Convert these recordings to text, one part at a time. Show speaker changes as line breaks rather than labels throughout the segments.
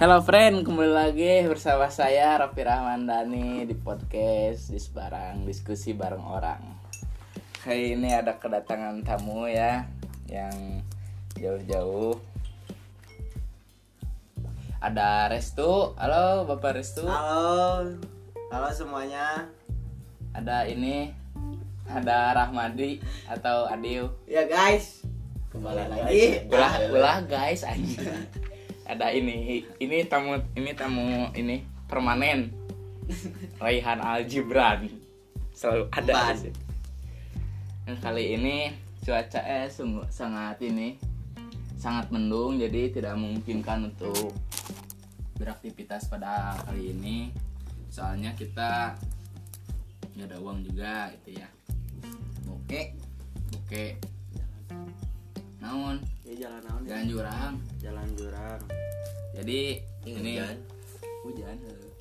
Hello friend, kembali lagi bersama saya Raffi Rahmandani di podcast di Sebarang Diskusi Bareng Orang. Hari ini ada kedatangan tamu ya yang jauh-jauh. Ada Restu, halo Bapak Restu.
Halo, halo semuanya.
Ada ini, ada Rahmadi atau Adiu.
Ya guys, kembali lagi.
Ulah, ulah guys anjing. Ada ini, ini tamu, ini tamu ini permanen. Raihan Al Jibran selalu ada.
Ban.
di situ. Dan kali ini cuaca eh sungguh sangat ini sangat mendung jadi tidak memungkinkan untuk beraktivitas pada kali ini soalnya kita nggak ada uang juga itu ya oke oke namun
Ya jalan naon ya?
jalan jurang
Jalan jurang.
jadi ini
hujan.
hujan heuh.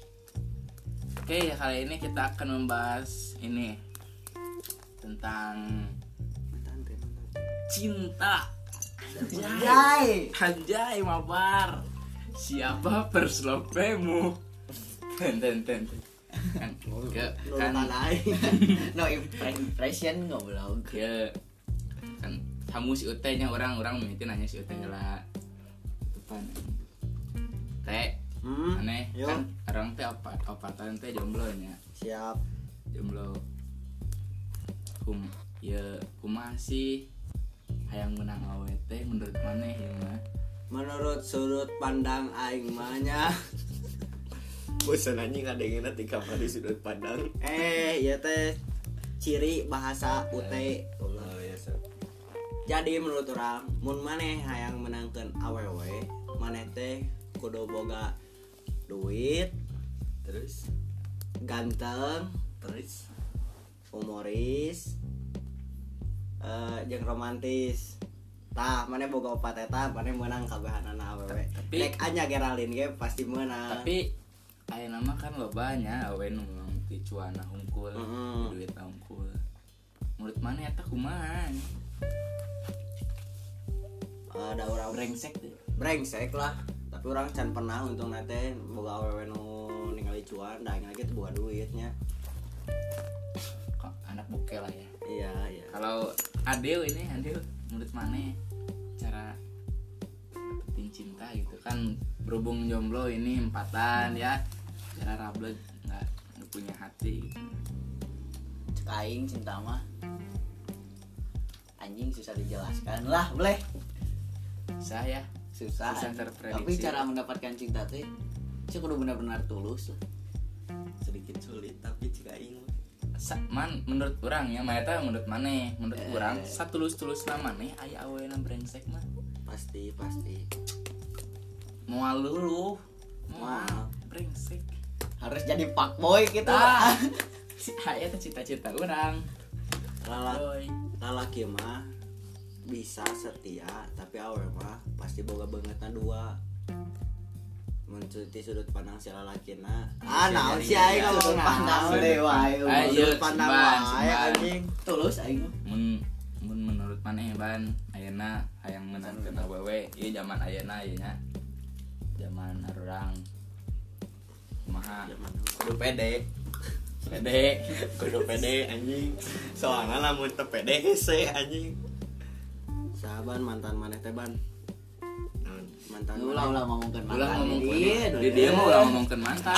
oke kali ini kita akan membahas ini tentang
Mantan teh, mantan.
cinta anjay,
Anjay.
anjay mabar siapa perslopemu ten ten ten ten. kan ke- kan
Kan No impression ngoblog.
ya kan kamu si utenya orang orang mimiti nanya si utenya lah depan teh
Hmm.
aneh
Yo.
kan orang teh apa apa teh jomblo nya
Siap.
jomblo kum ya kumaha sih hayang menang awe teh menurut maneh ya mah
Menurut sudut pandang aing mahnya,
bosan anjing ada yang enak di kamar di sudut pandang
eh ya teh ciri bahasa UT.
Eh, oh ya sir
Jadi menurut orang, mun maneh hayang menangkan awewe, maneh teh kudu boga duit,
terus
ganteng,
terus
humoris eh jeung romantis tah mana boga opat eta mana menang kabehanana awewe
Tapi-
nek anya Geraldine ge pasti menang
tapi aya nama kan lobanya awe nu memang ti cuana hungkul
Mm-mm.
duit hungkul menurut maneh eta kumaha
ada orang breng
brengsek deh
brengsek lah tapi orang can pernah untung nate boga awewe nu ningali cuan da lagi teu boga duitnya
Kok anak bokeh lah ya
iya iya
kalau Adeo ini Adeo menurut maneh cara dapetin cinta gitu kan berhubung jomblo ini empatan ya cara rablet nggak nggak punya hati gitu.
Cek aing cinta mah anjing susah dijelaskan lah boleh
susah ya
susah,
Susah
anjing.
terprediksi.
tapi cara mendapatkan cinta teh sih kudu benar-benar tulus lah.
sedikit sulit tapi jika ingin
Sa- man menurut orang ya maeta menurut maneh menurut
Eh.
orang satu tulus tulus nama nih ayah awalnya brengsek mah
pasti pasti
mual dulu
Mual.
mual brengsek
harus jadi fuckboy kita
ah si ayah teh cita-cita orang
Lala-
Doi.
lalaki mah bisa setia tapi awewe mah pasti boga bangetna dua mencuci sudut pandang si lalaki na ah naon sih aing
Iya,
sudut
naon
pandang
deh, wae,
Ah, iya,
sudut pandang
simpan,
wae
simpan.
anjing
tulus aing mah.
mun mun menurut maneh ban ayeuna hayang menang kena awewe ieu zaman ayeuna ieu nya zaman orang kumaha
kudu pede
pede
kudu pede anjing soalnya lamun teu pede hese anjing
sahaban mantan maneh teh ban
Naon?
mantan
ulah ulah ngomongkan
ulah
mantan Iya,
ngomong
di
ke
dieu,
di dia mah ulah ngomongkeun mantan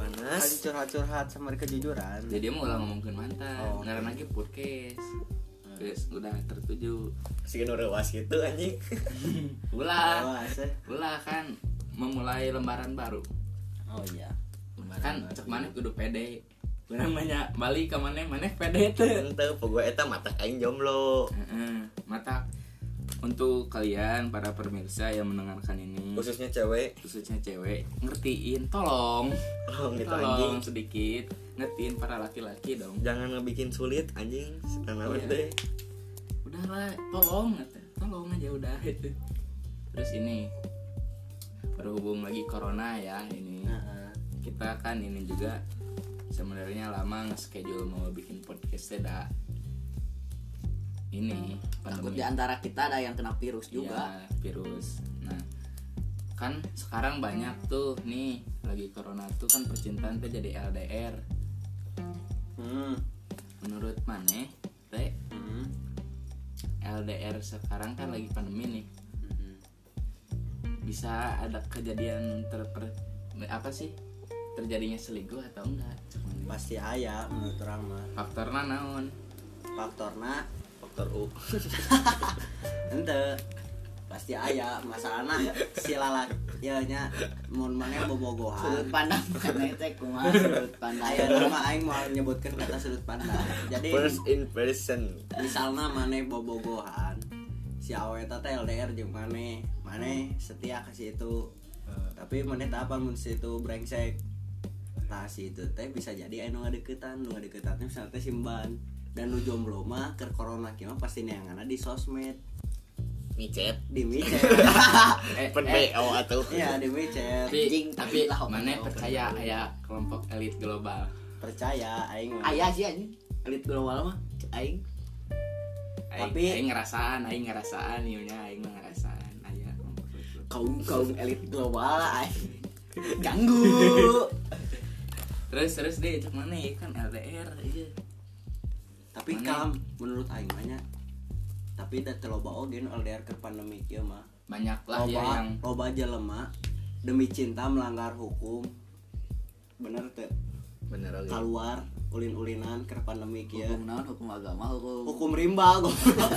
panas
curhat curhat sama kejujuran
di dia mah ulah ngomongkeun mantan
Oh.
ngaran lagi podcast Geus udah tertuju
si nu rewas gitu anjing
ulah
Awas, eh.
ulah kan memulai lembaran baru
oh iya
kan cek maneh kudu pede Urang banyak balik ka maneh maneh pede teh
teu pogo eta mata aing jomblo
Heeh, mata untuk kalian para pemirsa yang mendengarkan ini
khususnya cewek
khususnya cewek ngertiin tolong
oh gitu anjing
tolong sedikit ngertiin para laki-laki dong
jangan ngebikin sulit anjing tenang
Iya.
deh
udahlah tolong kata. tolong aja udah itu terus ini berhubung lagi corona ya ini
Heeh.
kita kan ini juga sebenarnya lama schedule mau bikin podcast ya, dah ini
takut
pandemi.
Iya. di antara kita ada yang kena virus juga
Iya, virus nah kan sekarang banyak tuh nih lagi corona tuh kan percintaan teh jadi LDR
hmm.
menurut maneh teh
Hmm.
LDR sekarang kan lagi pandemi nih
Hmm.
bisa ada kejadian terper apa sih terjadinya selingkuh atau enggak Cuman
pasti ayah menurut orang mah
faktornya naon
faktorna
Faktor U.
ente pasti ayah masalahnya si lalaki ya nya mun mana bobogohan
sudut pandang karena teh kumaha sudut pandang
Aya nama aing mau nyebutkan kata sudut pandang. Jadi
First in person.
misalnya mana bobogohan si aweta teh LDR jeung mana mana setia ke situ tapi mana tak apa mun situ brengsek nah si itu teh bisa jadi anu ngadeketan nu ngadeketannya misalnya teh simban dan nu jomblo mah ke corona kieu mah pasti neanganna di sosmed
Micet.
di micet
eh,
Pen
eh,
BO oh, atuh.
iya di micet
tapi,
Ah, Anjing,
tapi
lah,
mana
omongan.
percaya aya kelompok elit global
percaya aing mah
ayah sih anjing elit global mah aing
aing,
Tapi-
aing ngerasaan aing ngerasaan ieu nya aing mah ngerasaan aya kelompok elit global.
kaum kaum elit global aing ganggu
terus terus deh cek mana ya kan LDR iya
tapi
Mana?
kalau menurut aing mah nya, tapi da teu loba oge nu LDR ke pandemi kieu mah
banyak lah
iya,
loba
ya yang
loba jelema demi cinta melanggar hukum bener teu
bener oke
keluar ulin-ulinan ke pandemi kieu
hukum naon hukum agama hukum
Iya. hukum rimba goblok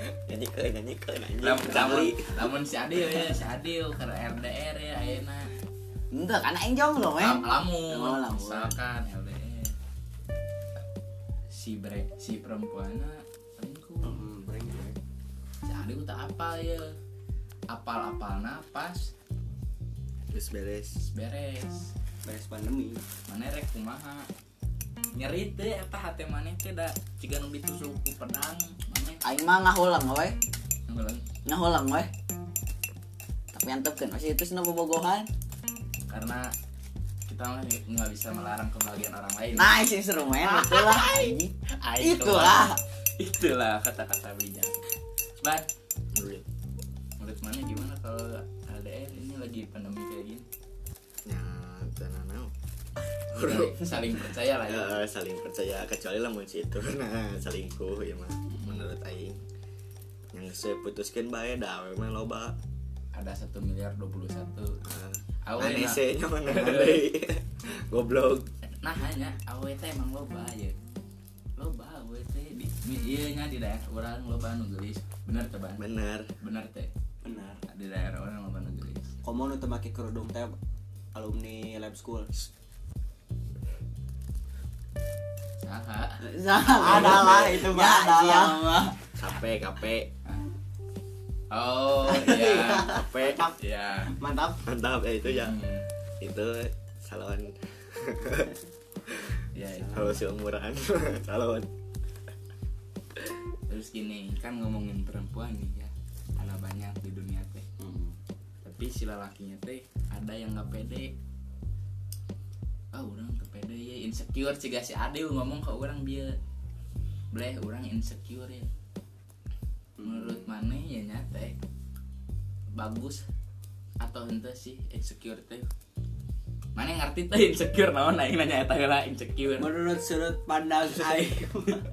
Nyanyikeun, nyanyikeun anjing.
Lam- lamun,
Kali.
lamun si Adil ya, si Adil ke RDR ya ayeuna.
enggak kan aing jomblo eh
Lam- Lamun,
Oh, lamun.
misalkan LDR. Si bre, si perempuannya selingkuh.
Hmm, breng, breng.
Si Adil tak apal ya. Apal-apal napas
Terus beres.
beres.
beres pandemi
Mana rek kumaha? Nyeri teh eta hate maneh teh da jiga nu ditusuk ku pedang maneh.
aing mah ngahulang we
Ngeuleung.
ngahulang we tapi antep kan masih itu sena bobogohan
Karena kita mah nggak bisa melarang kebahagiaan orang lain.
nah sih seru main itulah anjing
Ah,
Itulah.
itulah kata-kata bijak Bang menurut mana gimana kalau LDR ini lagi pandemi kayak gini
Ya, tenang naon.
Saling- saling percaya lah ya
Ya, saling percaya kecuali lamun si itu nah salingkuh ya mah menurut aing yang saya putuskan bae dah we mah loba
ada satu miliar 21
Ah,
Awe na-
aneh sih nya mana deui. goblok
nah hanya awet emang loba ya loba awet di mi- iya nya di daerah orang loba nu geulis bener teh Bang?
bener
bener teh
benar
di daerah orang loba nu geulis
komo nu teu make kerudung teh alumni lab school
saha
Adalah, itu mah
Ya,
adalah.
iya, mah.
kape kape
oh iya
kape
iya
mantap
mantap eh, itu ya
Hmm,
itu calon
iya iya.
kalau seumuran calon
terus gini kan ngomongin perempuan nih ya ada banyak di dunia teh
Hmm.
tapi si lelakinya teh ada yang nggak pede ah orang nggak pede ya insecure sih si Ade ngomong ke orang dia bleh orang insecure ya
Hmm.
menurut mana ya nyata bagus atau ente sih insecure teh mana ngerti teh insecure naon aing nanya eta heula insecure
menurut sudut pandang aing mah-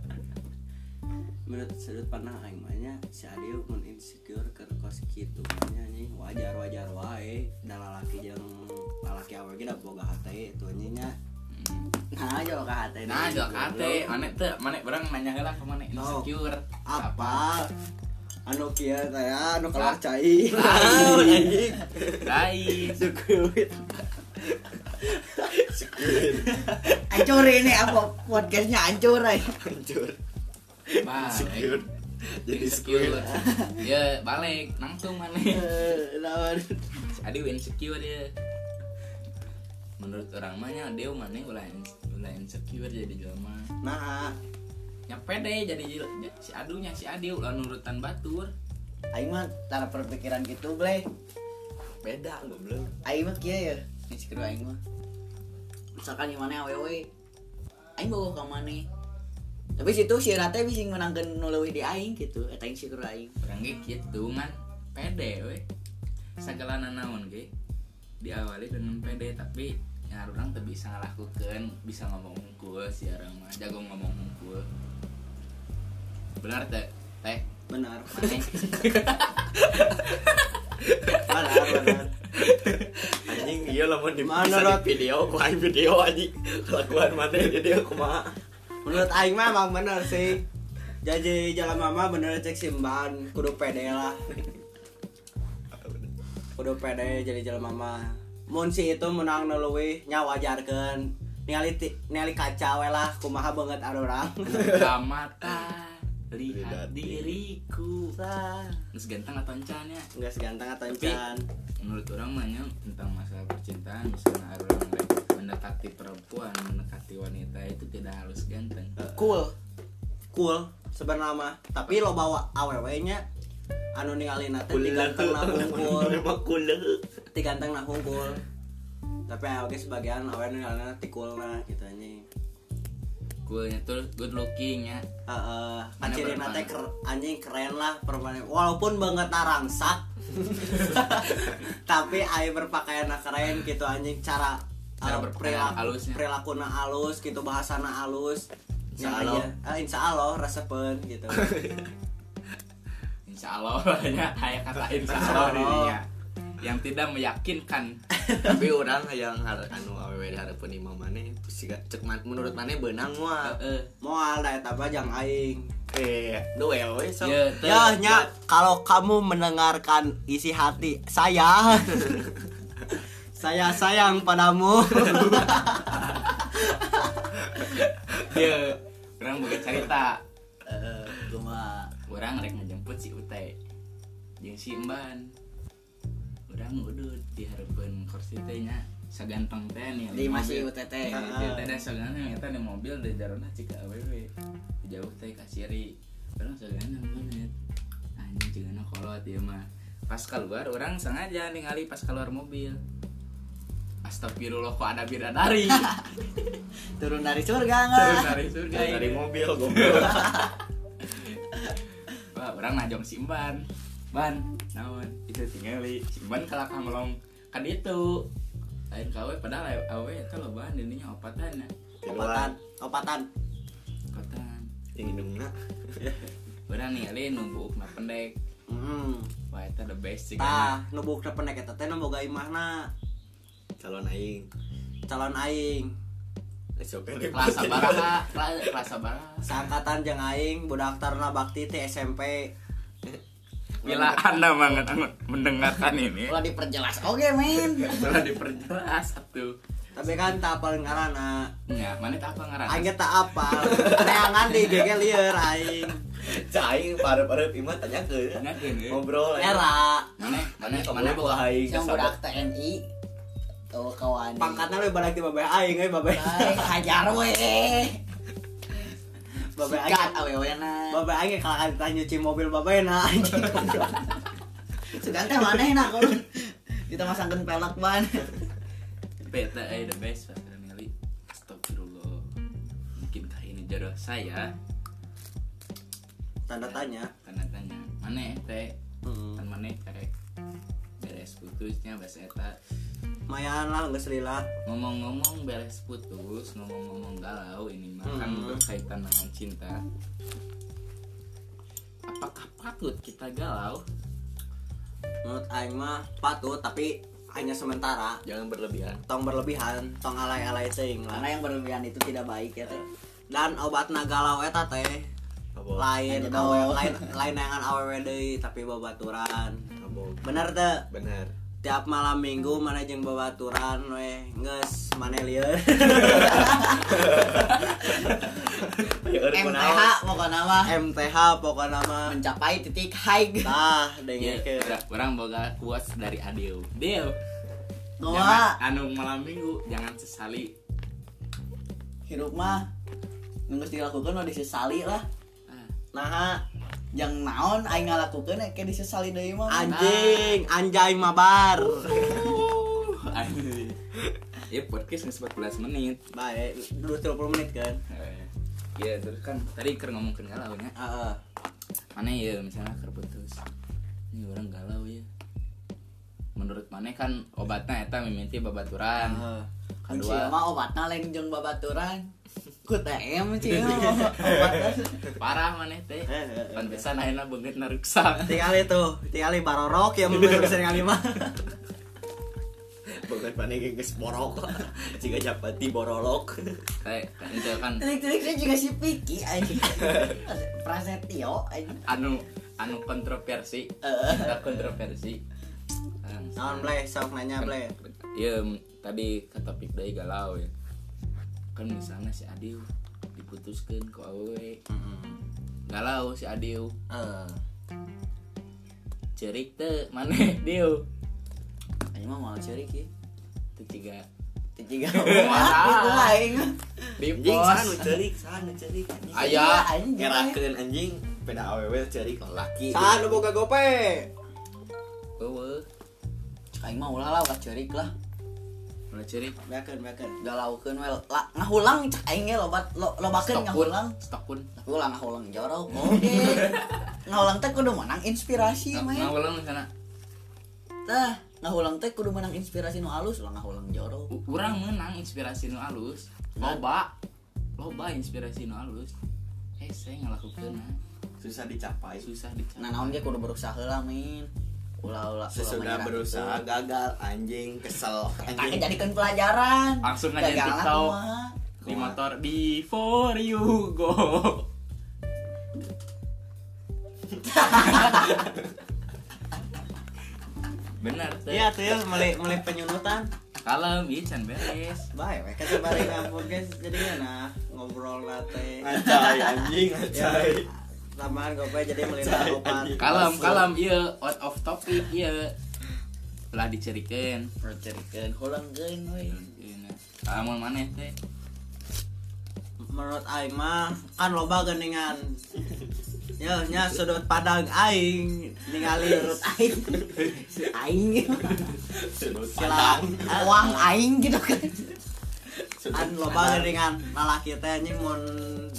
menurut sudut pandang aing mah nya, si Adil mun insecure ke kos kitu mah nya anjing wajar-wajar wae da lalaki jeung lalaki awege da boga hate itu nya
Hmm.
nah jauh ke hati
nah jok ate mana teh mana orang nanya heula ke mana insecure
Oh, apa anu kieu teh anu kelar cai
Lain. Lain.
hancur ini apa podcastnya hancur eh.
hancur
Balik.
secure
Iya,
jadi secure
Insecure. Ya balik langsung mana.
Eh, lawan.
Si Adi insecure ya. Menurut orang mah nya dia mana ulah ins- ulah insecure jadi jelema.
nah
Nya pede jadi jel- si Adunya si Adi ulah nurutan batur.
aing mah cara berpikiran gitu bleh
beda goblok
aing mah kieu ya nih sikro aing mah misalkan gimana awewe aing bawa ka mana tapi situ si Rate bisa Eh, menangkan nulawi di aing gitu eta aing sikro aing
Orang ge kitu ngan pede we. segala naon ge diawali dengan pede tapi ya orang tuh bisa ngelakukan bisa ngomong unggul si orang mah jago ngomong unggul benar teh teh
benar
maneh
benar benar
anjing iya lamun di
Mana,
bisa
Rod?
di video ku aing video anjing kelakuan mana di dia kumaha
menurut aing mah emang bener sih jadi jalan mama bener cek simban kudu pede lah kudu pede jadi jalan mama mun si itu menang nuluwi nyawajarkan ningali ti- ningali kaca we lah kumaha banget anu ada orang
buka mata lihat
Lihat
diriku terus ganteng atau encannya
nggak seganteng atau encan
menurut orang banyak tentang masalah percintaan misalnya ada orang lain mendekati perempuan mendekati wanita itu tidak harus ganteng
cool cool sebenarnya mah tapi lo bawa aww nya anu ningali nate diganteng na hungkul
kulit
diganteng na hungkul tapi ah, oke sebagian aww ningali na tikul na gitu anjing
coolnya tuh good looking ya
Heeh,
Mana
anjing
perempuan?
nate ker, anjing keren lah perempuan walaupun banget narangsak tapi ayo berpakaian keren gitu anjing cara
Cara
eh,
berpakaian halusnya.
perilaku na halus gitu bahasa na halus
Insya
Nya
Allah.
aja. Eh, insya Allah resepen gitu
insya Allah banyak kayak kata insya Allah dirinya yang tidak meyakinkan
tapi orang yang har anu awewe diharapkeun imam maneh siga cek man- menurut maneh beunang moal
eh
Moal da eta mah jang aing.
eh duel we sok
ya tuh
Ya, nya kalau kamu mendengarkan isi hati saya saya sayang padamu.
ya orang bukan cerita
cuma
orang rek ngejemput si Utai jeung si Emban orang ngudut diharapkan kursi teh nya saganteng teh nih
di masih
mobil.
UTT
Teh, teh, teh, teh, sagana eta di mobil di darona cika awewe jauh teh ka siri orang sagana banget anjing jeung kolot ieu mah pas keluar orang sengaja ningali pas keluar mobil Astagfirullah kok ada bidadari
turun dari surga
Terus
nggak
dari surga ini.
dari mobil goblok
Wah, orang najong simban. Ban, naon? Itu tingali. Simban kalah kamelong kan itu. Lain kawe padahal awe- awe itu lo ban dininya opatan ya.
Opatan, opatan.
Kotan.
yang hidungna
Orang ningali nunggu ukna pendek.
Hmm.
Wah, itu the best sih.
Tah, nu bukna pendek eta teh nu boga imahna
calon aing
calon aing.
sok
Kelas sabaraha, kelas kelas sabaraha.
Sangkatan jeung aing budak taruna bakti ti SMP.
Bila Anda mengen- mendengarkan ini,
kalau diperjelas oke men
telah diperjelas satu.
Tapi kan tak apal ngaranna.
Ya, mana tak apa ngaran?
Aing ge tak apal. Neangan di GG lieur aing.
cai parep-parep imah tanya ke
Tanyakeun, eh.
ngobrol aing.
Era
Mana mana mana
mana
boga
bawa aing
yang
kesabet.
budak TNI tuh kawan
pangkatna we balik di babeh aing we babeh.
Baik, hajar we
Babeh aing
sikat awewe na
Bapak aja kalau kita nyuci mobil bapak enak anjing goblok.
sugan teh mana enak kalau kita masangkan pelek ban
Beta eh the best Pak Danieli Astagfirullah Mungkinkah ini jodoh saya?
Tanda tanya. Hmm.
Tanda tanya Mana eh, teh Kan mana karek Beres putusnya bahasa eta
Mayan lah nggak selila.
Ngomong-ngomong beres putus Ngomong-ngomong galau ini mah Kan
Hmm.
berkaitan dengan cinta Apakah patut kita galau?
Menurut Aing mah patut tapi hanya sementara.
jangan berlebihan
Tong berlebihan, tong alay-alay ting
karena
lah.
yang berlebihan itu tidak baik ya teh
Dan obat galau eta teh
Abah,
lain
Lanjut, Oh.
awe-
Om.
lain lain nangan aww deui tapi babaturan.
abah,
Bener teh
benar
tiap malam minggu mana jeung babaturan we geus mane lieur.
ya eureun kunaon.
MTH pokoknya mah
MTH pokoknya mah.
mencapai titik high
Tah
Ya,
deui Iya, ke.
orang- Orang boga kuas dari Adeo Deo
Noah
jangan- Anu malam minggu Jangan sesali
hidup mah nunggu dilakukan mah disesali lah
Ah.
Nah,
yang naon aing ngalakukeun eh, kayak disesali deui mah
Anjing, anjay mabar.
Anjing. ya podcast nggak 14 menit Eh,
Baik, dulu 30 menit kan.
ya terus kan tadi ker ngomongin galau nya
Heeh.
mana ya misalnya ker putus ini orang galau ya menurut mana kan obatnya eta mimiti babaturan
Ah,
kedua
Kedua mah obatna lain jeung babaturan. Ku TM cing. Obatna.
parah mana teh
Eh,
pantesan akhirnya banget naruksak
Tingali tuh, tingali barorok ya menurut sering kali mah.
bukan panik geus borok jika japati borolok
kayak itu kan
Trik-triknya juga si Piki anjing. Prasetyo anjing.
anu anu kontroversi Eta kontroversi
Naon bleh, sok nanya bleh.
Iya, m- tadi ke topik deui galau ya. Kan misalnya si Adiu diputuskeun ku awewe. Galau si Adiu,
Eh,
cerik teu maneh Diu.
Anjing mah mau ceurik ieu.
Teu ciga.
Teu jiga obat itu aing.
Di
anjing
pos.
sana cerik sana cerik anjing.
Aya.
anjing.
ngerakeun anjing peda aww cerik lelaki
Saan nu boga gope?
Eueuh,
Aing mah ulah lah ulah ceurik lah.
mulai cerik.
Beakeun, beakeun.
Galaukeun we lah ngahulang cek aing ge lobat lo, lobakeun
Stokun,
ngahulang.
stokun.
Ulang ngahulang jorok. Oke. Ngahulang Nah, teh kudu menang inspirasi mah.
Nah, ulang sana.
Tah, ngahulang teh kudu menang inspirasi nu alus, ah, ulah ngahulang jorok.
U- Urang menang inspirasi nu alus. Loba. Loba inspirasi nu alus. Eh, saya ngelakukeun
susah dicapai
susah dicapai.
Nah, naon ge kudu berusaha heula, Min. Ulah ulah ulah
sesudah
menyerah.
berusaha Eh, gagal anjing kesel
Kakek
anjing
jadikan pelajaran.
Langsung aja
Gagalan
TikTok.
kumaha.
di motor before you go bener tuh
Iya tuh ya, meli meli penyunutan.
kalau bisa iya, beres
Bae we kata bari kampung guys, jadi nah ngobrol nate.
ngacai anjing ngacai
Tambahan gope jadi melindah
Cai,
gopan.
anjing.
kalem kalem iya out of topic iya lah dicerikan
Percerikeun hulengkeun we.
kamu mana teh
Menurut aing mah kan loba geningan. Ya, nya sudut padang aing ningali
Menurut aing si aing ge mah.
sudut
Sila-
pandang
wang aing gitu kan.
An loba geuningan lalaki teh anjing mun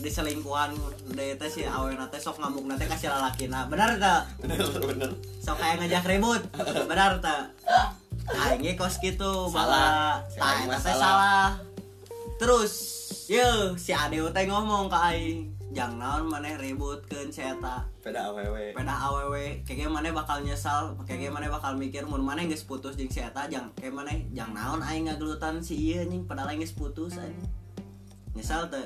diselingkuhan deui teh si awena teh sok ngamuk teh ka si lalakina. Bener teu?
bener bener
Sok kayak ngajak ribut. Bener teu? Aing ge kos kitu bala
Salah. Si
tah
aing
eta
mah
teh
salah.
salah. Terus yeuh si Adeu teh ngomong ka aing, "Jang naon maneh ributkeun si eta."
peda aww
peda aww kayak mana bakal nyesal kayak mana bakal mikir mun mana geus putus jeung si eta jang kayak mana jang naon aing ngagelutan si ieu anjing padahal aing geus putus anjing nyesal teu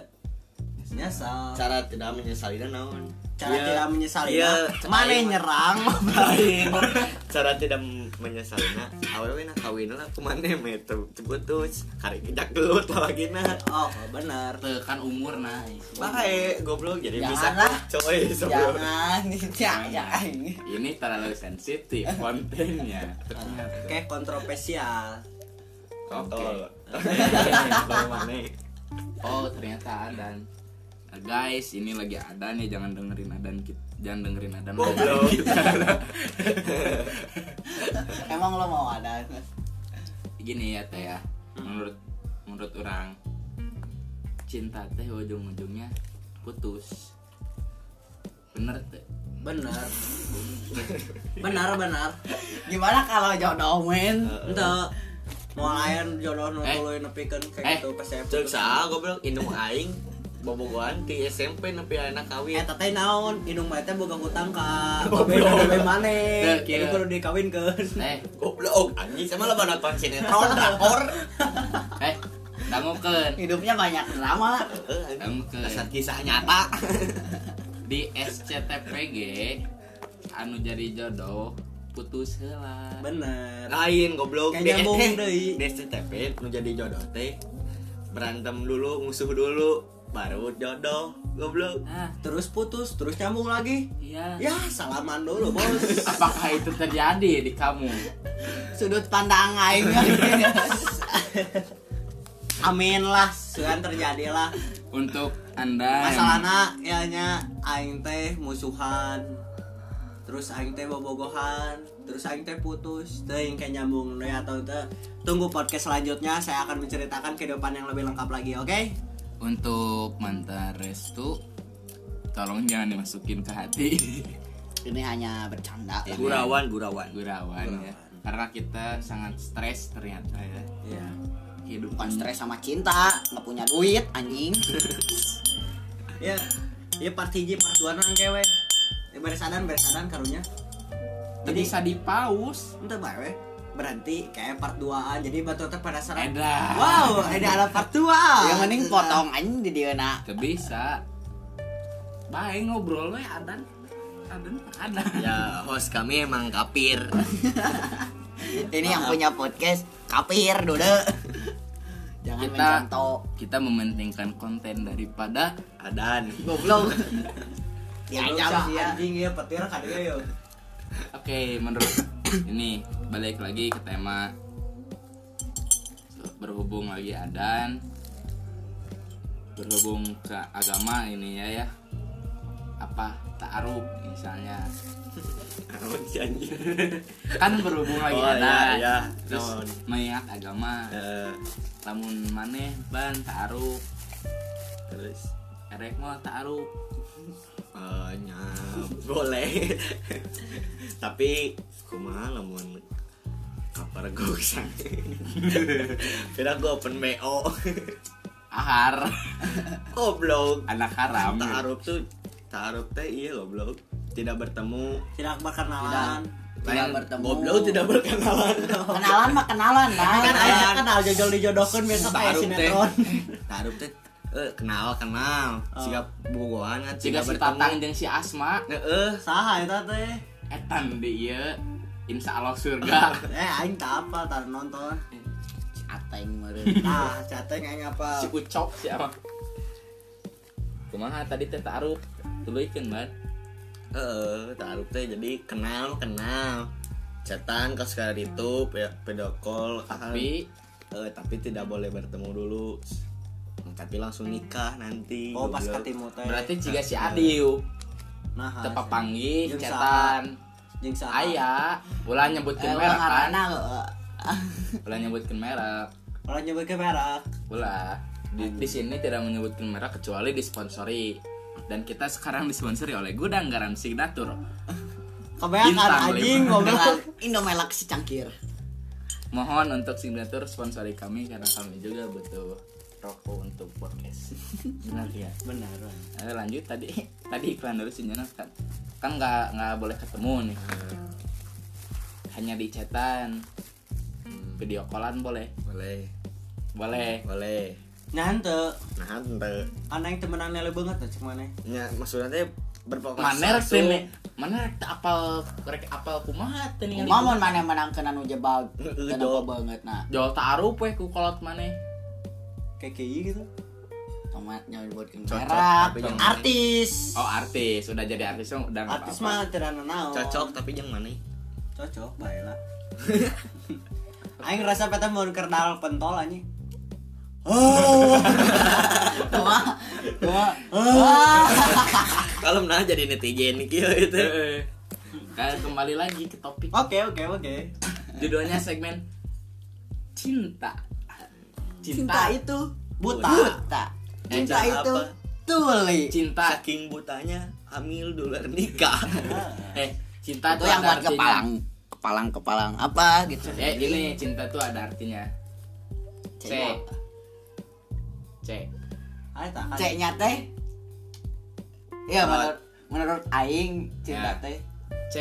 nyesal
cara tidak menyesali naon
cara
Iya.
tidak menyesali
Iya.
mana nyerang balik
cara tidak menyesalnya aww na kawin lah kemana me teu- teu putus hari kita gelut lagi na
oh benar
tekan umur nah
bae goblok jadi bisa
Janganlah.
coy sebelum
Jangan,
Ya,
jangan, jangan.
ini terlalu sensitif kontennya
oke
ternyata
kontroversial
kontol mana
Oh ternyata adan. Nah, guys ini lagi adan ya jangan dengerin adan kita jangan dengerin adan.
Goblok.
Emang lo mau ada?
Gini ya teh ya. Menurut menurut orang cinta teh ujung-ujungnya putus. Bener teh.
benar benar benar
Gimana kalau jodoh men?
ente mau lain jodoh nu
Eh.
tuluy nepikeun
Eh.
kayak gitu pas saya
cek
putus
sah goblok indung aing bobogohan di SMP nepi anak kawin
Eta Eh, teh naon, indung bae teh boga hutang ka
Oh,
Goblok.
babe mane.
Teu, kieu.
Jadi kudu dikawinkeun.
Eh
goblok anjing sama lo nonton sinetron drakor
eh dangukeun
Hidupnya banyak drama.
Eh, anjing.
Oke.
dasar kisah nyata
di SCTPG anu jadi jodoh putus heula.
Bener.
lain goblok
Kayak nyambung
eh,
deui.
di SCTP nu jadi jodoh teh berantem dulu musuh dulu baru jodoh goblok
Nah,
Terus putus, terus nyambung lagi.
iya.
Ya, salaman dulu, Bos.
Apakah itu terjadi di kamu?
Sudut pandang aing.
Amin lah, sugan terjadilah.
Untuk Anda yang-
Masalahna ya nya aing teh musuhan. Terus aing teh bobogohan, terus aing teh putus. Teuing kayak nyambung deui atau teu tunggu podcast selanjutnya saya akan menceritakan kehidupan yang lebih lengkap lagi, oke?
Untuk mantan restu Tolong jangan dimasukin ke hati
Ini hanya bercanda. lah.
Iya.
gurawan gurawan
Gurawan ya karena kita sangat stres ternyata ya
Iya.
hidup
bukan stres sama cinta nggak punya duit anjing
Ya, ya part hiji part dua nang kewe. Ya beres adan beres adan karunya.
Tapi bisa dipaus
Entah bae we. Berhenti kayak part 2 jadi batu teh pada saran.
Edah
Wow, ada ala part 2.
yang Ya, mending potong anjing di dia nak
Teu bisa baik ngobrol we adan adan adan
ya host kami emang kapir
ini yang punya podcast kapir dode jangan
Kita-
mencontoh
kita mementingkan konten daripada
adan
goblok diajam
Diajak
dia
anjing ya petir kadieu yo.
oke menurut ini balik lagi ke tema berhubung lagi adan berhubung ke agama ini ya ya apa ta'aruf misalnya
Naon si anjing
kan berhubung lagi
Oh,
adan
iya, iya.
terus
Naon.
mengingat agama
Eh,
lamun maneh ban ta'aruf
terus
erek mah ta'aruf
eh, nya boleh tapi kumaha lamun kapar goksang kira gue open mo
ahar
goblok
anak haram
taaruf tuh taaruf teh iya goblok tidak bertemu
Tidak berkenalan.
tidak
Lain
bertemu
goblok tidak berkenalan
kenalan mah kenalan lah
Kan aja kenal jojol dijodohkan besok kayak
Taaruf teh
sinetron.
taaruf teh eh, kenal kenal sikap bogoan kan
jika
tidak
si
bertemu
tatang jeung si asma
Heeh.
Eh, Saha eta teh?
etan di iya insya Allah surga
Eh aing tak apa tar nonton.
ateng meureun
Nah, cateng aing apa?
si ucok siapa kumaha tadi teh taruh tuluikeun ban
Heeh, taruh teh jadi kenal kenal. Cetan ke sekarang itu ya video call kan.
tapi
Eh, tapi tidak boleh bertemu dulu. Hmm, Tapi langsung nikah nanti.
Oh, pas
goblok.
katimu teh.
berarti jika si adiu
nah,
tepat panggil
Jeung
cetan
jeung saha?
ayah ulah nyebutkeun
Eh,
merek
orang
kan
ngarana eh,
ulah nyebutkeun merek
Orang nyebut ke merah.
ulah di, di sini tidak menyebutkan merek kecuali disponsori dan kita sekarang disponsori oleh gudang garam signatur
Kebanyakan
Bintang
anjing
lima.
goblok.
dengan Indomelak secangkir
mohon untuk signatur sponsori kami karena kami juga butuh rokok untuk podcast benar ya
Benar.
Eh, lanjut tadi tadi iklan dulu sih Jonas, kan kan nggak nggak boleh ketemu nih
Eh,
hanya di chatan
Hmm,
video callan boleh
boleh,
boleh
boleh.
Nyante,
Nah, ente.
anak yang temenan lele banget tuh cek mana?
Nya maksudnya teh berfokus
mana rek teh,
langsung.
ne? mana rek teh apal rek apal kumaha teh ningali
Mamon mana menang kena nu jebal
Heeh,
Kena
dong.
banget nah
jol taruh weh ku kolot mana
Kayak kayak gitu.
Tomatnya dibuatkeun
Cocok,
merah
tapi jangan-
Artis
oh artis udah jadi artis dong, udah nggak
Artis
apa-apa.
mah tidak nanaon.
Cocok tapi yang mana?
Cocok, bae lah. Aing ngerasa peta mau kerdal pentol anjing. Oh,
Cuma Cuma
Oh.
Wah.
Kalau nah jadi netizen gitu. kieu itu.
Eh, eh. Nah, kembali lagi ke topik
oke oke oke.
judulnya segmen cinta
Cinta itu
Buta.
Buta
Cinta
Cinta itu
apa?
Tuli
cinta
Saking butanya hamil dolar nikah.
eh cinta
Itu
tuh
yang
ada artinya.
buat kepalang Kepalang kepalang apa gitu
eh ini cinta tuh ada artinya C
C
C
Ayo tak kan.
C nya teh Iya menurut Menurut Aing Cinta
Ya.
teh
C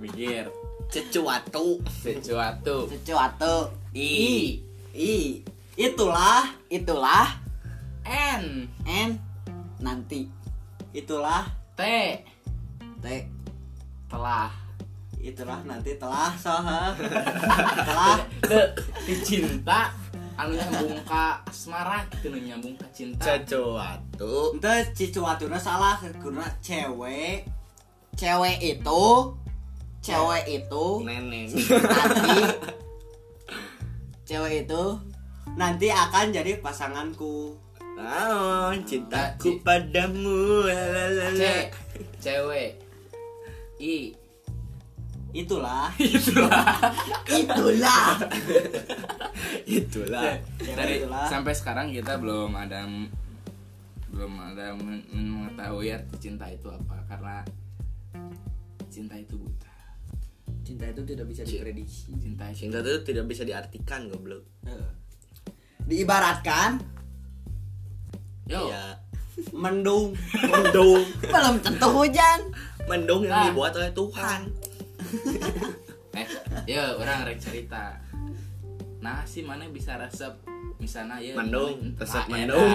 mikir
Cecuatu.
sesuatu
Sesuatu
I
I
Itulah,
Itulah
N
And Nanti
itulah,
T
T
telah
itulah nanti telah soha. telah
Te ti cinta anu nyambung ka asmara gitu nu nyambung ka cinta
Cecuatu.
Ente cicuatuna salah guna cewek
Cewek itu Cewek itu
Neneng.
Nanti Cewek itu
nanti akan jadi pasanganku.
Ah,
Naon cintaku
ci-
padamu
C
lalalala.
cewek I
Itulah.
Itulah
Itulah
dari
itulah.
Nah, sampai sekarang kita belum ada belum ada men- mengetahui arti cinta itu apa karena cinta itu buta
cinta itu tidak bisa diprediksi
cinta itu
Cinta itu tidak bisa diartikan goblok.
Eh. diibaratkan
yo
Ya,
mendung
mendung,
belum tentu hujan
Ah.
mendung yang dibuat oleh Tuhan.
eh yo orang rek cerita nah si mana bisa resep misalnya ya
Mendung, resep mendung.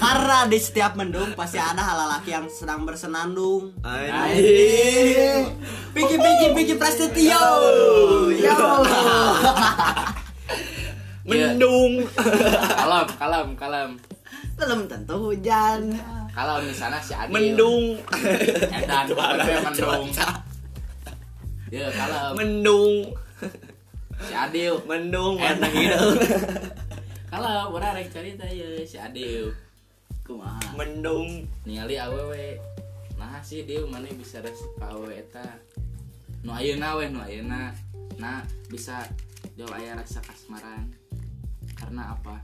karena di setiap mendung pasti ada hal laki yang sedang bersenandung
Anjing.
Piki piki piki prasetyo Ya yo
Mendung.
kalam kalam kalam
belum tentu hujan
kalau misalnya si Adil
Mendung.
Edan,
Itu parah,
PP mendung.
cuaca.
ya kalau
Mendung.
si Adil
Mendung warna
Enak.
hijau.
kalau orang rek cerita ya si Adil kumaha
Mendung.
ningali awewe nah sih dia mana bisa resep ka awewe eta nu ayeuna we nu ayeuna nah bisa jauh aya rasa kasmaran karena apa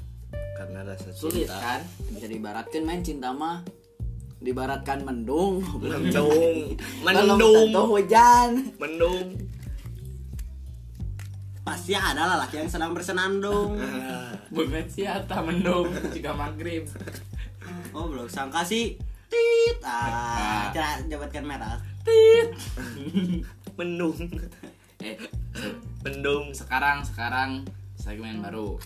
Karena rasa
sulit
cinta.
kan
bisa diibaratkan main cinta mah diibaratkan mendung
Mendung.
belum
Mendung.
tentu hujan
Mendung.
pasti ada lah laki yang sedang bersenandung
Ah.
bukan sih eta mendung jika maghrib
oh belum sangka sih tit ah cara jabatkan merah
Mendung.
eh
Mendung.
sekarang sekarang segmen baru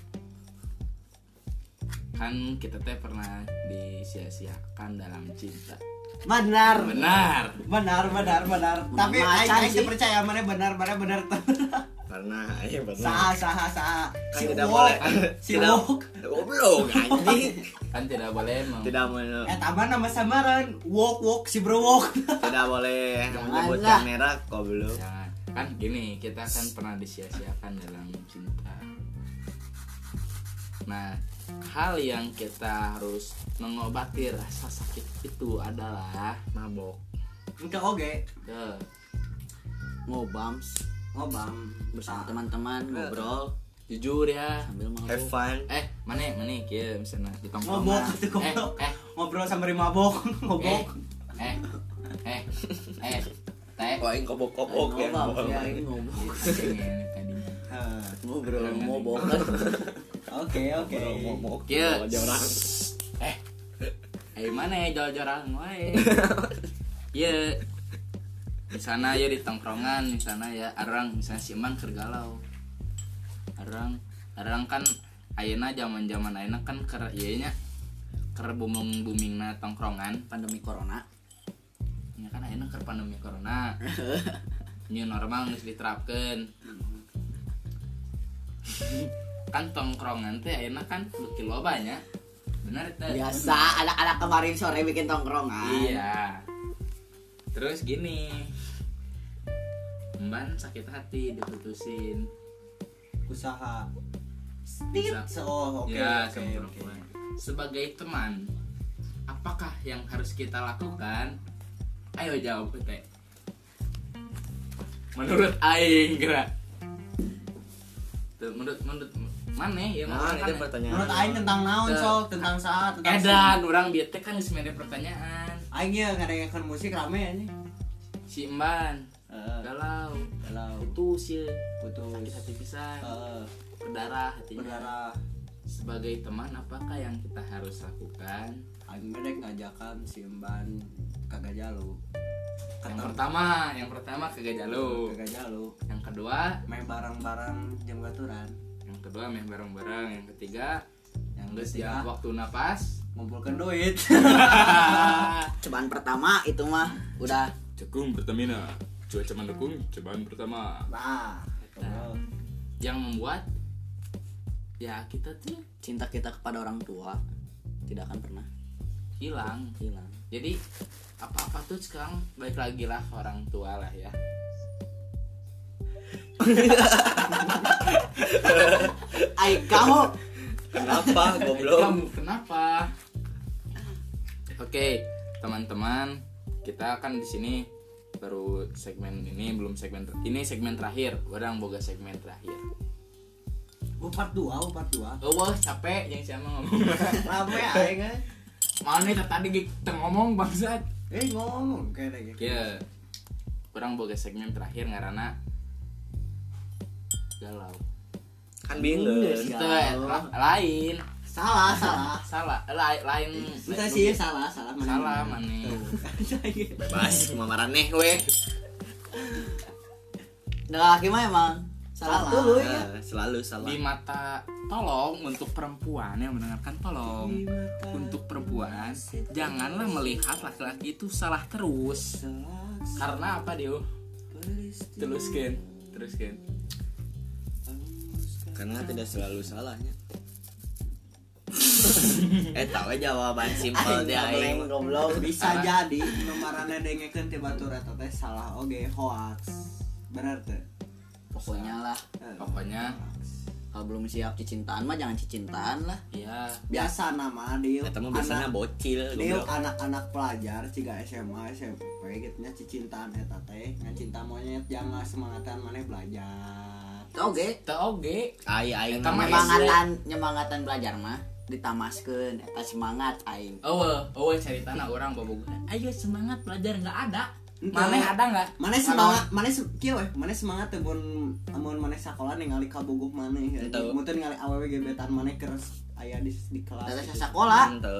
kan kita teh pernah disia-siakan dalam cinta
benar
benar
benar benar benar tapi
Macan
aing aing
sih.
teu percaya mana benar mana benar
Karena ya benar.
saha saha saha
Kan
si
tidak
Uwok.
boleh.
si
Tidak-
Uwok.
Goblok anjing.
kan tidak boleh meng
Tidak boleh.
eh taman nama samaran wok wok si bro wok
Tidak boleh
Janganlah.
menyebutkan merek goblok.
Jangan. kan gini kita kan pernah disia-siakan dalam cinta nah hal yang kita harus mengobati rasa sakit itu adalah
Mabok.
enggak oge
ke
ngobams
ngobam
bersama teman-teman ngobrol
jujur ya
sambil mabuk
Have fun.
eh mana mana kia misalnya di tongkrongan.
Mabok, itu goblok.
eh eh
ngobrol sambil mabok ngobok
eh eh eh teh
Kok aing kobok-kobok ya.
ngobams ya ini ngobok
Pengen Gitu, tadinya.
à.
Eh,
ngobrol ngobok kan
oke oke
Mabok.
Kieu.
Bawa aja orang.
eh eh mana ya jor-joran wae ya di sana ya di tongkrongan di sana ya arang misalnya si emang kergalau arang arang kan ayeuna zaman zaman ayeuna kan ker ieu nya ker booming boomingna tongkrongan
pandemi corona
ya kan ayeuna ker pandemi corona new normal geus diterapkeun kan tongkrongan teh ayeuna kan beuki loba nya benar teh
biasa anak-anak kemarin sore bikin tongkrongan
Iya. Terus gini. Emban sakit hati diputusin.
usaha Stit.
Usaha.
oh oke
ya,
oke,
sama
oke.
perempuan. Sebagai teman, apakah yang harus kita lakukan? Ayo jawab Teh. Menurut aing gerak. Tuh, menurut menurut mana ya
Nah,
mana
itu
kan-
pertanyaan.
menurut aing tentang naon
Eh,
sok tentang saat tentang
Edan, orang biar teh kan geus mere pertanyaan.
aing ya ngadengarkeun musik rame anjing
Si Emban
Heeh.
galau,
galau
putus ya, sakit
Eh, putus
hati pisan.
Eh,
berdarah hatinya
berdarah
sebagai teman apakah yang kita harus lakukan
aing medek ngajakan si Emban kagak jalu
yang
ketemu
pertama yang pertama kagak jalo
kagak jalu
yang kedua
main barang-barang jam gaturan
yang kedua main bareng-bareng yang ketiga
yang
nggak
ketiga
waktu napas
ngumpulkan duit
cobaan pertama itu mah udah
cekung Pertamina cuaca mendukung cobaan pertama
nah
Nah. yang membuat ya kita tuh
cinta kita kepada orang tua tidak akan pernah
hilang
hilang
jadi apa-apa tuh sekarang baik lagi lah ke orang tua lah ya
Ay kamu
Kenapa goblok?
Kamu kenapa? Oke, teman-teman, kita kan di sini baru segmen ini belum segmen ter- ini segmen terakhir. Orang boga segmen terakhir.
upat Oh, dua upat dua
Oh, wah, capek yang sama ngomong.
rame aing eh.
Mana nih tadi gig- teu ngomong bangsat. Iya.
eh ngomong kayak lagi
Ya. Orang boga segmen terakhir ngarana galau
kan bingung
itu lain
salah salah
salah lain lain
Bisa
lain-
sih.
salah salah mana
salah mana
bebas cuma maraneh we
Nah, laki mah emang
Salah.
salah, dulu ya.
Nah, Eh, selalu salah
di mata tolong untuk perempuan yang mendengarkan tolong untuk perempuan janganlah melihat laki-laki itu salah terus karena apa dia teruskan teruskan
karena tidak selalu salahnya eh tahu jawaban simpel dia aing
goblok bisa jadi nomarannya dengekeun tiba batur eta teh salah oge hoax bener teh
Pokoknya lah,
Eh,
pokoknya
kalau belum siap cicintaan mah jangan cicintaan lah.
ya
biasa nama dia
Eta mah biasana bocil
Dia
goblok.
anak-anak pelajar ciga SMA SMP gitu nya cicintaan eta teh ngan cinta monyet jangan semangatan maneh belajar.
Oke,
itu oge
Ai aing
Eta mah
mah
nyemangatan nyemangatan belajar mah ditamaskeun eta semangat aing.
Owe, owe cerita anak orang bobogohan. Ayo semangat belajar nggak ada. Maneh ada nggak?
Maneh semangat, maneh se- kieu weh, maneh semangat teh mun mun maneh sakola ningali kabogoh maneh. ya.
Enteu.
Mun teu ningali awewe gebetan maneh keres aya di, di kelas.
Eta
gitu.
sekolah
ente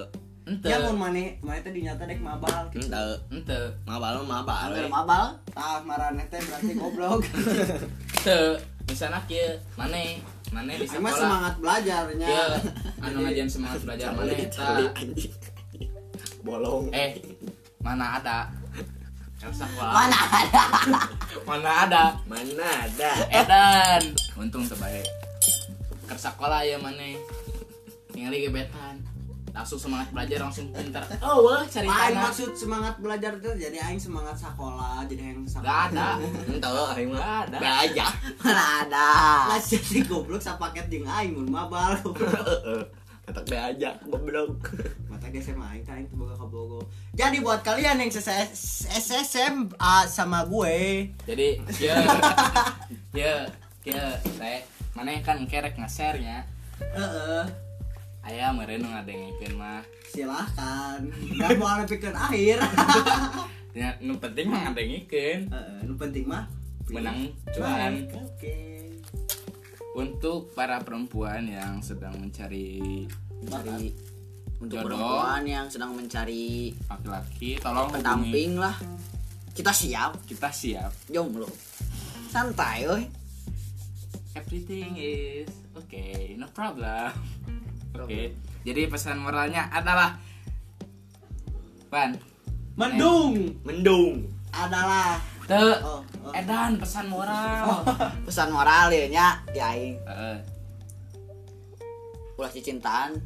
Ente,
Ya mun maneh maneh teh dinyata dek mabal. gitu.
ente
ente,
mabal mah mabal
Angger
we.
mabal,
Tah maraneh Ah, teh berarti goblok.
ente. Misalnya kia, maneh, maneh di
Aing mah
sekolah.
semangat belajarnya.
Kia, anu ngajian semangat belajar
Cari,
maneh.
cari,
eta.
anjing. bolong
Eh, mana ada? Yang
Ah.
sekolah.
mana ada?
Mana ada?
mana ada
Edan. Untung terbaik. Ke sekolah ya maneh. Ningali gebetan. Langsung semangat belajar langsung pintar. Oh, weh cerita.
Aing maksud semangat belajar teh jadi aing semangat sakola, jadi aing sakola.
Nggak ada.
ente aing
Nggak
mah
ada.
belajar
Mana ada?
Lah jadi goblok sapaket jeung aing mun mabal.
Atak belajar goblok
Mata ge SMA aing teh aing teu boga kabogo. Jadi buat kalian yang SSMA sama gue,
jadi ya ya ya teh mana kan kerek nge-share-nya
heeh,
ayah meren ngadengin mah
silahkan. Dan mau pikeun akhir.
ya nu penting mah ngadengin
Heeh, nu penting mah
menang
Cuan.
cuan
Oke.
untuk para perempuan yang sedang mencari
Mencari untuk
Jodoh.
perempuan yang sedang mencari
laki-laki tolong hubungi
pendamping lah. Kita siap,
kita siap
jomblo. Santai weh.
everything is okay no problem oke jadi pesan moralnya adalah pan
Mendung
mendung
adalah
tuh
oh, oh.
edan Eh, pesan moral Eh,
Pesan moral ya nya di aing.
Heeh.
ulah cicintaan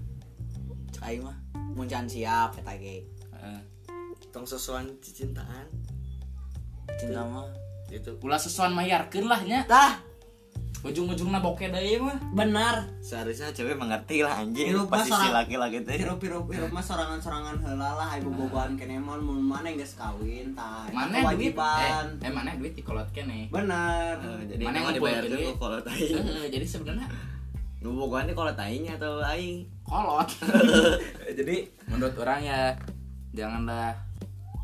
cek aing mah muncan siap eta ge
heeh.
tong sesuan cintaan
cinta mah
itu
ulah sesuan mayarkeun lah nya
tah
ujung-ujungna boke deui mah
benar.
seharusnya cewek mengerti lah anjing
Hirup
posisi
masalah.
laki-laki teh
Hirup hirup hirup mah sorangan-sorangan heula lah ayo bobogohan kenemon mun mana yang geus kawin tah. Eta
mana duit
kewajiban.
eh, eh mana duit dikolot kene
Benar.
Eh, jadi
Mana
mana
yang ngumpulin
dibayar dulu
duit?
kalau tayang
Heeh, jadi sebenarnya
Nubu gua nih kalau tainya atau aing.
kolot
Eh,
jadi menurut orang ya janganlah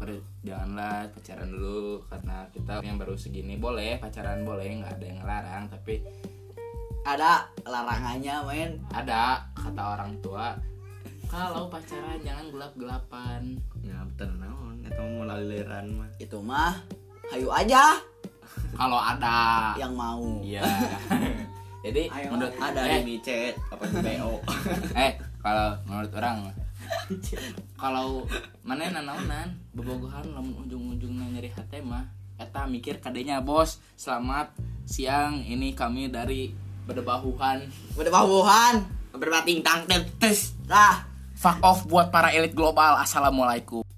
ber- janganlah pacaran dulu karena kita yang baru segini boleh pacaran boleh nggak ada yang larang tapi
ada larangannya men
ada kata orang tua kalau pacaran jangan gelap-gelapan
Ya bener naon eta mau laliran mah.
itu mah hayu aja
kalau ada
Ya.
yang mau
iya jadi
Ayo,
menurut
Ada
eh,
di micet apa di BO.
eh kalau menurut orang kalau mana nanaunan bobogohan lamun ujung-ujungnya nyeri hati mah eta mikir kadenya bos selamat siang ini kami dari berdebahuhan
udah bahuhan
Berbating tang tes.
tah
fuck off buat para elit global assalamualaikum